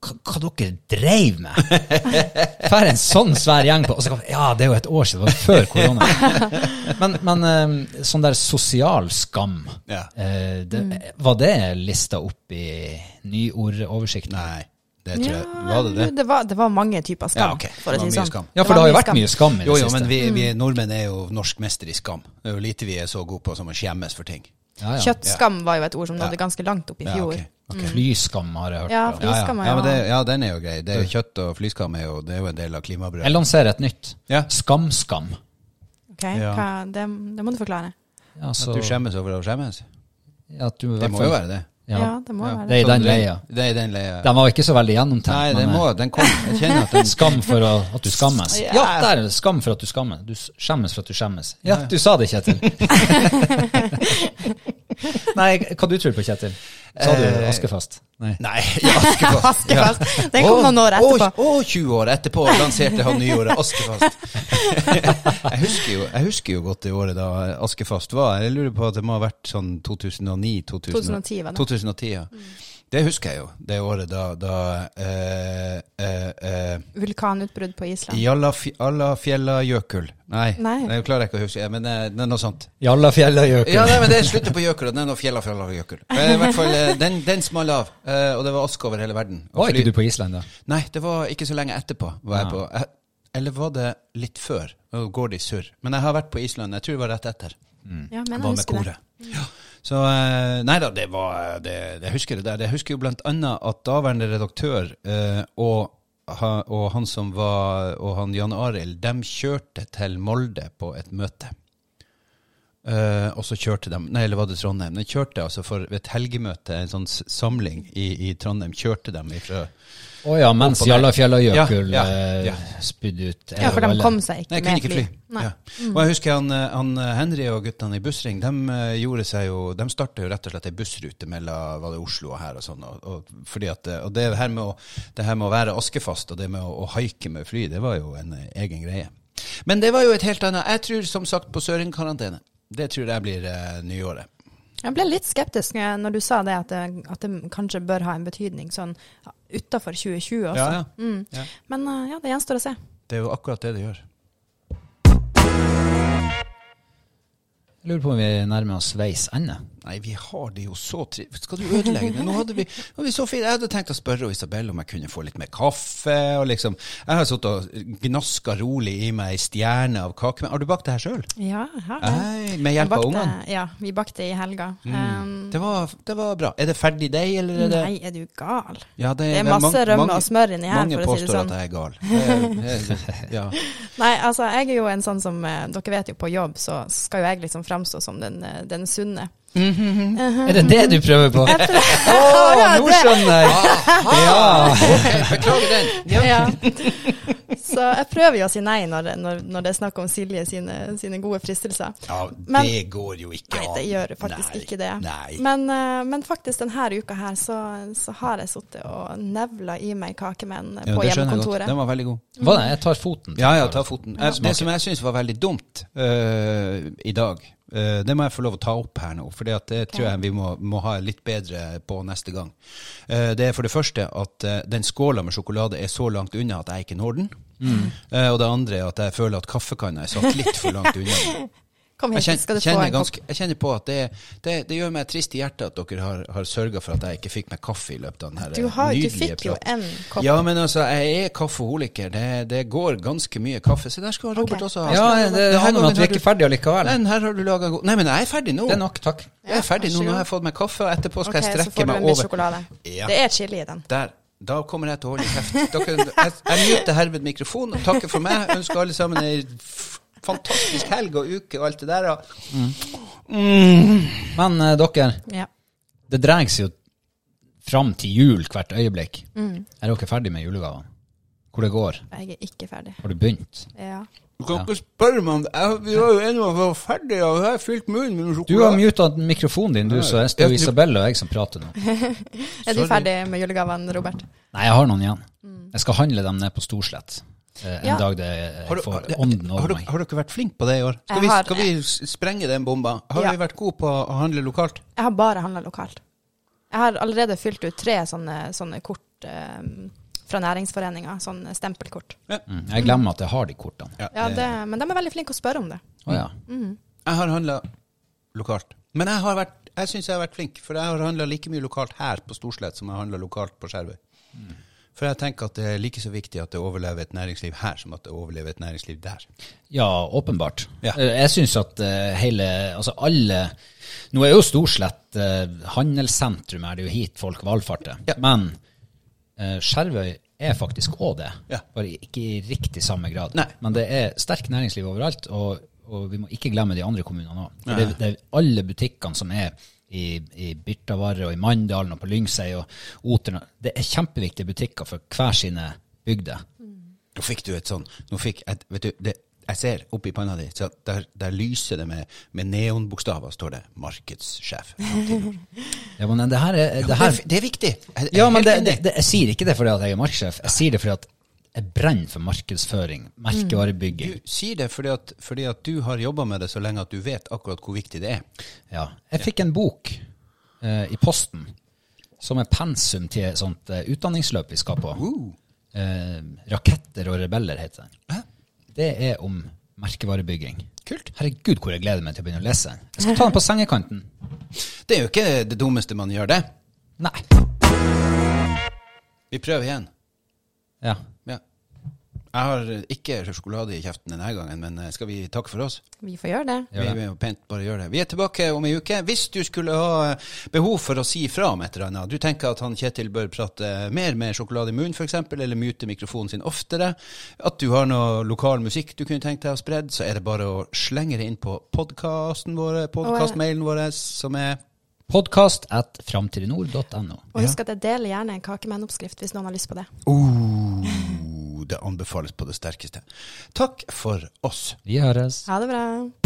S3: Hva, hva dere dreiv med? Fær en sånn svær gjeng på og så, kom- Ja, det er jo et år siden. Det var før korona. Men, men eh, sånn der sosial skam
S1: Ja.
S3: Eh, det, Var det lista opp i nyordoversikten?
S1: Nei, det tror jeg Var det det?
S2: Det var, det var mange typer skam,
S1: Ja, ok.
S2: for
S1: Det var
S2: å si det
S1: mye
S2: sånn.
S1: skam.
S3: Ja, for
S2: var
S3: det har jo vært mye skam i det
S1: Jo, jo,
S3: siste. Mm.
S1: men vi, vi nordmenn er jo norsk mester i skam. Det er jo lite vi er så gode på som å skjemmes for ting.
S3: ja, ja.
S2: Kjøttskam var jo et ord som nådde
S1: Ja.
S2: ganske langt opp i
S1: Ja,
S2: fjor.
S1: ok.
S3: Flyskam har jeg hørt.
S2: Ja,
S3: om.
S1: Ja, ja.
S2: flyskam er
S1: ja, men det,
S2: jo
S1: ja, den er jo grei.
S3: Mm.
S1: Det er jo kjøtt og flyskam er jo, det er jo en del av klimabrødet.
S3: Jeg lanserer et nytt.
S1: Ja.
S3: Skamskam.
S2: Ok,
S1: Ja.
S2: hva, det, det må du forklare.
S3: Ja, så-
S1: At du skjemmes over å skjemmes?
S3: at du i
S1: Det
S3: hvert
S1: må
S3: fall-
S1: jo være det.
S2: Ja,
S3: Ja.
S2: det må
S1: Ja.
S2: jo være
S3: Det er i
S1: Så
S3: den
S1: det-
S3: leia.
S1: Det er i den leia.
S3: Den var ikke så veldig gjennomtenkt.
S1: Nei,
S3: men,
S1: den må, den kom. Jeg kjenner at
S3: eh,
S1: den
S3: Skam for å, at du skammes.
S2: Ja.
S3: Ja, der er det. Skam for at du skammer. Du s- skjemmes for at du skjemmes. Ja, du sa det, Kjetil. Nei, hva du tror på, Kjetil? Sa du
S1: Eh,
S3: Askefast? Nei.
S1: Nei, i Askefast.
S2: Askefast. Den kom noen år etterpå.
S1: Og, 20 år etterpå lanserte han nyordet Askefast. jeg, husker jo, jeg husker jo godt det året da Askefast var. Jeg lurer på at det må ha vært sånn 2009-2010.
S2: 2010 var det. Mm.
S1: ja. Det husker jeg jo. Det året da, da eh, eh, eh,
S2: Vulkanutbrudd på Island.
S1: Jallaf- Allafjellajökull. Nei,
S2: Nei.
S1: det klarer jeg ikke å huske. Men eh, det er noe sånt.
S3: Jallafjellagjøken.
S1: Ja, nei, men det slutter på Jøkul, og den er noe fjella, fjella, Jøkul. Men i hvert fall, eh, den, den smalt av, eh, og det var aske over hele verden. Og
S3: Var
S1: fly-
S3: ikke du på Island, da?
S1: Nei, det var ikke så lenge etterpå. Var jeg
S3: Ja.
S1: på. Jeg, eller var det litt før? Nå går det i surr. Men jeg har vært på Island, jeg tror det var rett etter.
S2: Ja, men
S1: Jeg
S2: jeg
S1: var med
S2: husker det. Mm.
S1: koret. Ja. Så eh, Nei da, det var eh, det, det husker det der. Jeg husker jo blant annet at daværende redaktør eh, og, ha- og han som var Og han Jan Arild, de kjørte til Molde på et møte. Eh, og så kjørte de Nei, eller var det Trondheim? De kjørte altså for ved et helgemøte, en sånn s- samling i, i Trondheim, kjørte de ifra
S3: Å ja, mens
S1: Oppå der.
S3: Jallafjellagjøkul
S1: Ja, ja, ja.
S3: eh, spydde ut
S2: Ja, for de kom seg
S1: Nei,
S2: ikke
S1: jeg kunne
S2: med
S1: ikke
S2: fly.
S1: fly.
S2: Nei.
S1: Ja. Og jeg husker han, eh, han eh, Henry og guttene i Bussring, de eh, gjorde seg jo De starta jo rett og slett ei bussrute mellom var det Oslo og her og sånn. Og, og, fordi at, eh, og det her med å, det her med å være askefast og det med å, å haike med fly, det var jo en eh, egen greie. Men det var jo et helt annet Jeg tror som sagt på søringkarantene. Det tror jeg blir eh, nyåret.
S2: Jeg ble litt skeptisk eh, når du sa det at det, at det kanskje bør ha en betydning sånn utafor 2020 også.
S1: Ja, ja.
S2: Mm.
S1: Ja.
S2: Men eh, ja, det gjenstår å se.
S1: Det er jo akkurat det det gjør.
S3: Jeg lurer på om vi nærmer oss veis ende.
S1: Nei, vi har det jo så trivelig. Skal du ødelegge det? Nå hadde vi, nå hadde vi så fint. Jeg hadde tenkt å spørre Isabel om jeg kunne få litt mer kaffe. og liksom. Jeg har sittet og gnaska rolig i meg ei stjerne av kake. Men har du bakt det her sjøl?
S2: Ja, jeg har det.
S1: Med
S2: Vi
S1: Ah, hjelp av
S2: bakte-
S1: ungene?
S2: Ja, vi bakte i helga. Um,
S1: Det var, det var bra. Er det ferdig deig, eller er det
S2: Mm, nei, er du gal?
S1: Ja,
S2: Det er masse
S1: mang-
S2: rømme
S1: mange-
S2: og smør inni her,
S1: Mange
S2: for å si det
S1: påstår
S2: sånn.
S1: at jeg er gal. Eh, eh, Ja.
S2: Nei, altså jeg er jo en sånn som eh, Dere vet jo, på jobb så skal jo jeg liksom framstå som den, eh, den sunne.
S3: Er det det du prøver på? Å, nå skjønner jeg! Ja.
S1: Ok, beklager den.
S2: Ja. Så jeg prøver jo å si nei når, når, når det er snakk om Silje sine, sine gode fristelser.
S1: Ja,
S2: Men-
S1: det går jo ikke
S2: Nei,
S1: an.
S2: det gjør faktisk
S1: Nei,
S2: ikke det.
S1: Nei.
S2: Men, eh, men faktisk denne uka her så, så har jeg sittet og nevla i meg kakemenn
S1: Ja,
S2: på
S1: det skjønner jeg godt.
S2: hjemmekontoret.
S1: Den var veldig god.
S3: Hva da? Jeg tar foten.
S1: Ja, ja, ta foten. Eh,
S3: Smaker.
S1: Det som jeg syns var veldig dumt eh, i dag, eh, det må jeg få lov å ta opp her nå. For det tror jeg vi må, må ha litt bedre på neste gang. Eh, det er for det første at eh, den skåla med sjokolade er så langt unna at jeg ikke når den. Eh, og det andre er at jeg føler at kaffekanna er satt litt for langt unna. den.
S2: Kom
S1: Jeg
S2: hit, skal
S1: kjenner,
S2: du få
S1: kjenner
S2: en kopp.
S1: ganske, jeg kjenner på at det, det, det gjør meg trist i hjertet at dere har, har sørga for at jeg ikke fikk meg kaffe i løpet av den her
S2: Du,
S1: eh,
S2: har, du
S1: nydelige
S2: fikk jo
S1: praten.
S2: en kopp.
S1: Ja, men altså, jeg er kaffeholiker. Det, det går ganske mye kaffe. Se, der skal Robert
S2: Ok.
S1: også ha.
S3: Ja, det, det
S1: Her
S3: handler om
S1: har
S3: at vi er
S1: du-
S3: ikke ferdige allikevel.
S1: Den her har du laga god Nei, men jeg er ferdig nå.
S3: Det er nok, takk.
S1: Jeg er ferdig nå. Nå
S2: Vær så god.
S1: har jeg fått meg kaffe, og etterpå skal
S2: Ok,
S1: jeg
S2: så får
S1: strekke
S2: du
S1: meg
S2: en bit
S1: over.
S2: sjokolade.
S1: Ja.
S2: Det er chili i den.
S1: Der. Da kommer jeg til å holde kjeft. Dere, jeg, jeg muter herved mikrofonen og takker for meg. Ønsker alle sammen ei f- fantastisk helg og uke og alt det der. Og
S3: Men eh, dere,
S2: Ja.
S3: det dregs jo fram til jul hvert øyeblikk. Er dere ferdig med julegavene? Hvor det går?
S2: Jeg er ikke ferdig.
S3: Har du begynt?
S2: Ja.
S1: du kan ikke spørre meg om det. Jeg, vi var jo enige om å være ferdig, og jeg har fylt munnen med
S3: Du har muta mikrofonen din, du, så jeg står
S1: Ja, du-
S3: Isabel og jeg som prater nå.
S2: Er du
S1: Sorry.
S2: ferdig med julegavene, Robert?
S3: Nei, jeg har noen igjen. Jeg skal handle dem ned på Storslett eh, en
S2: Ja.
S3: dag det jeg
S1: Har, du, har,
S3: får ånden
S1: har,
S3: over
S1: dere-
S3: meg.
S1: har dere vært flinke på det i år? Skal
S2: Jeg
S1: vi,
S2: har-
S1: skal vi s- sprenge den bomba? Har
S2: Ja.
S1: vi vært gode på å handle lokalt?
S2: Jeg har bare handla lokalt. Jeg har allerede fylt ut tre sånne, sånne kort eh, fra næringsforeninga, sånn stempelkort.
S3: Mm. Jeg glemmer at jeg har de kortene.
S2: Ja, det, men de er veldig flinke å spørre om det.
S3: Å ja.
S1: Jeg har handla lokalt. Men jeg, har vært- jeg syns jeg har vært flink, for jeg har handla like mye lokalt her på Storslett som jeg handla lokalt på Skjervøy.
S3: Mm.
S1: For jeg tenker at det er like så viktig at det overlever et næringsliv her, som at det overlever et næringsliv der.
S3: Ja, åpenbart.
S1: Ja.
S3: Eh, Jeg syns at eh, hele Altså alle Nå er jo Storslett eh, handelssentrum, er det jo hit folk valfarter.
S1: Ja.
S3: Men eh, Skjervøy er faktisk òg det.
S1: Ja.
S3: Bare ikke i riktig samme grad.
S1: Nei.
S3: Men det er sterkt næringsliv overalt, og, og vi må ikke glemme de andre kommunene òg. Det, det er alle butikkene som er i, i Birtavarre og i Manndalen og på Lyngsei og Oteren. Det er kjempeviktige butikker for hver sine bygder.
S1: Nå fikk du et sånn nå fikk et, Vet du, det, jeg ser oppi panna di, så der, der lyser det med, med neonbokstaver, står det 'markedssjef'.
S3: Ja, men det her er,
S1: Det,
S3: det her,
S1: er- det er viktig. Jeg- jeg er
S3: Ja, men
S1: helt
S3: det,
S1: enig.
S3: det, det, jeg sier ikke det fordi at jeg er markedssjef. Jeg sier det fordi at jeg brenner for markedsføring, merkevarebygging.
S1: Du sier det fordi at, fordi at du har jobba med det så lenge at du vet akkurat hvor viktig det er.
S3: Ja. Jeg fikk en bok eh, i posten som er pensum til et sånt eh, utdanningsløp vi skal på. Eh, 'Raketter og rebeller' heter den.
S1: Hæ?
S3: Det er om merkevarebygging. Kult. Herregud, hvor jeg gleder meg til å begynne å lese den. Jeg skal ta den på sengekanten.
S1: Det er jo ikke det dummeste man gjør, det.
S3: Nei.
S1: Vi prøver igjen.
S3: Ja.
S1: Ja. Jeg har ikke sjokolade i kjeften denne gangen, men eh, skal vi takke for oss?
S2: Vi får gjøre det.
S1: Vi,
S3: Gjør det.
S1: vi, må pent bare gjør det. vi er tilbake om ei uke. Hvis du skulle ha eh, behov for å si fra om et eller annet, du tenker at han Kjetil bør prate mer med sjokolade i munnen f.eks., eller mute mikrofonen sin oftere, at du har noe lokal musikk du kunne tenkt deg å spredd, så er det bare å slenge det inn på podkasten vår, podkastmailen vår, som er
S3: Podkast at framtidinord.no.
S2: Og husk at jeg deler gjerne en kakemennoppskrift hvis noen har lyst på det.
S1: Oh, det anbefales på det sterkeste. Takk for oss.
S3: Vi høres.
S2: Ha det bra.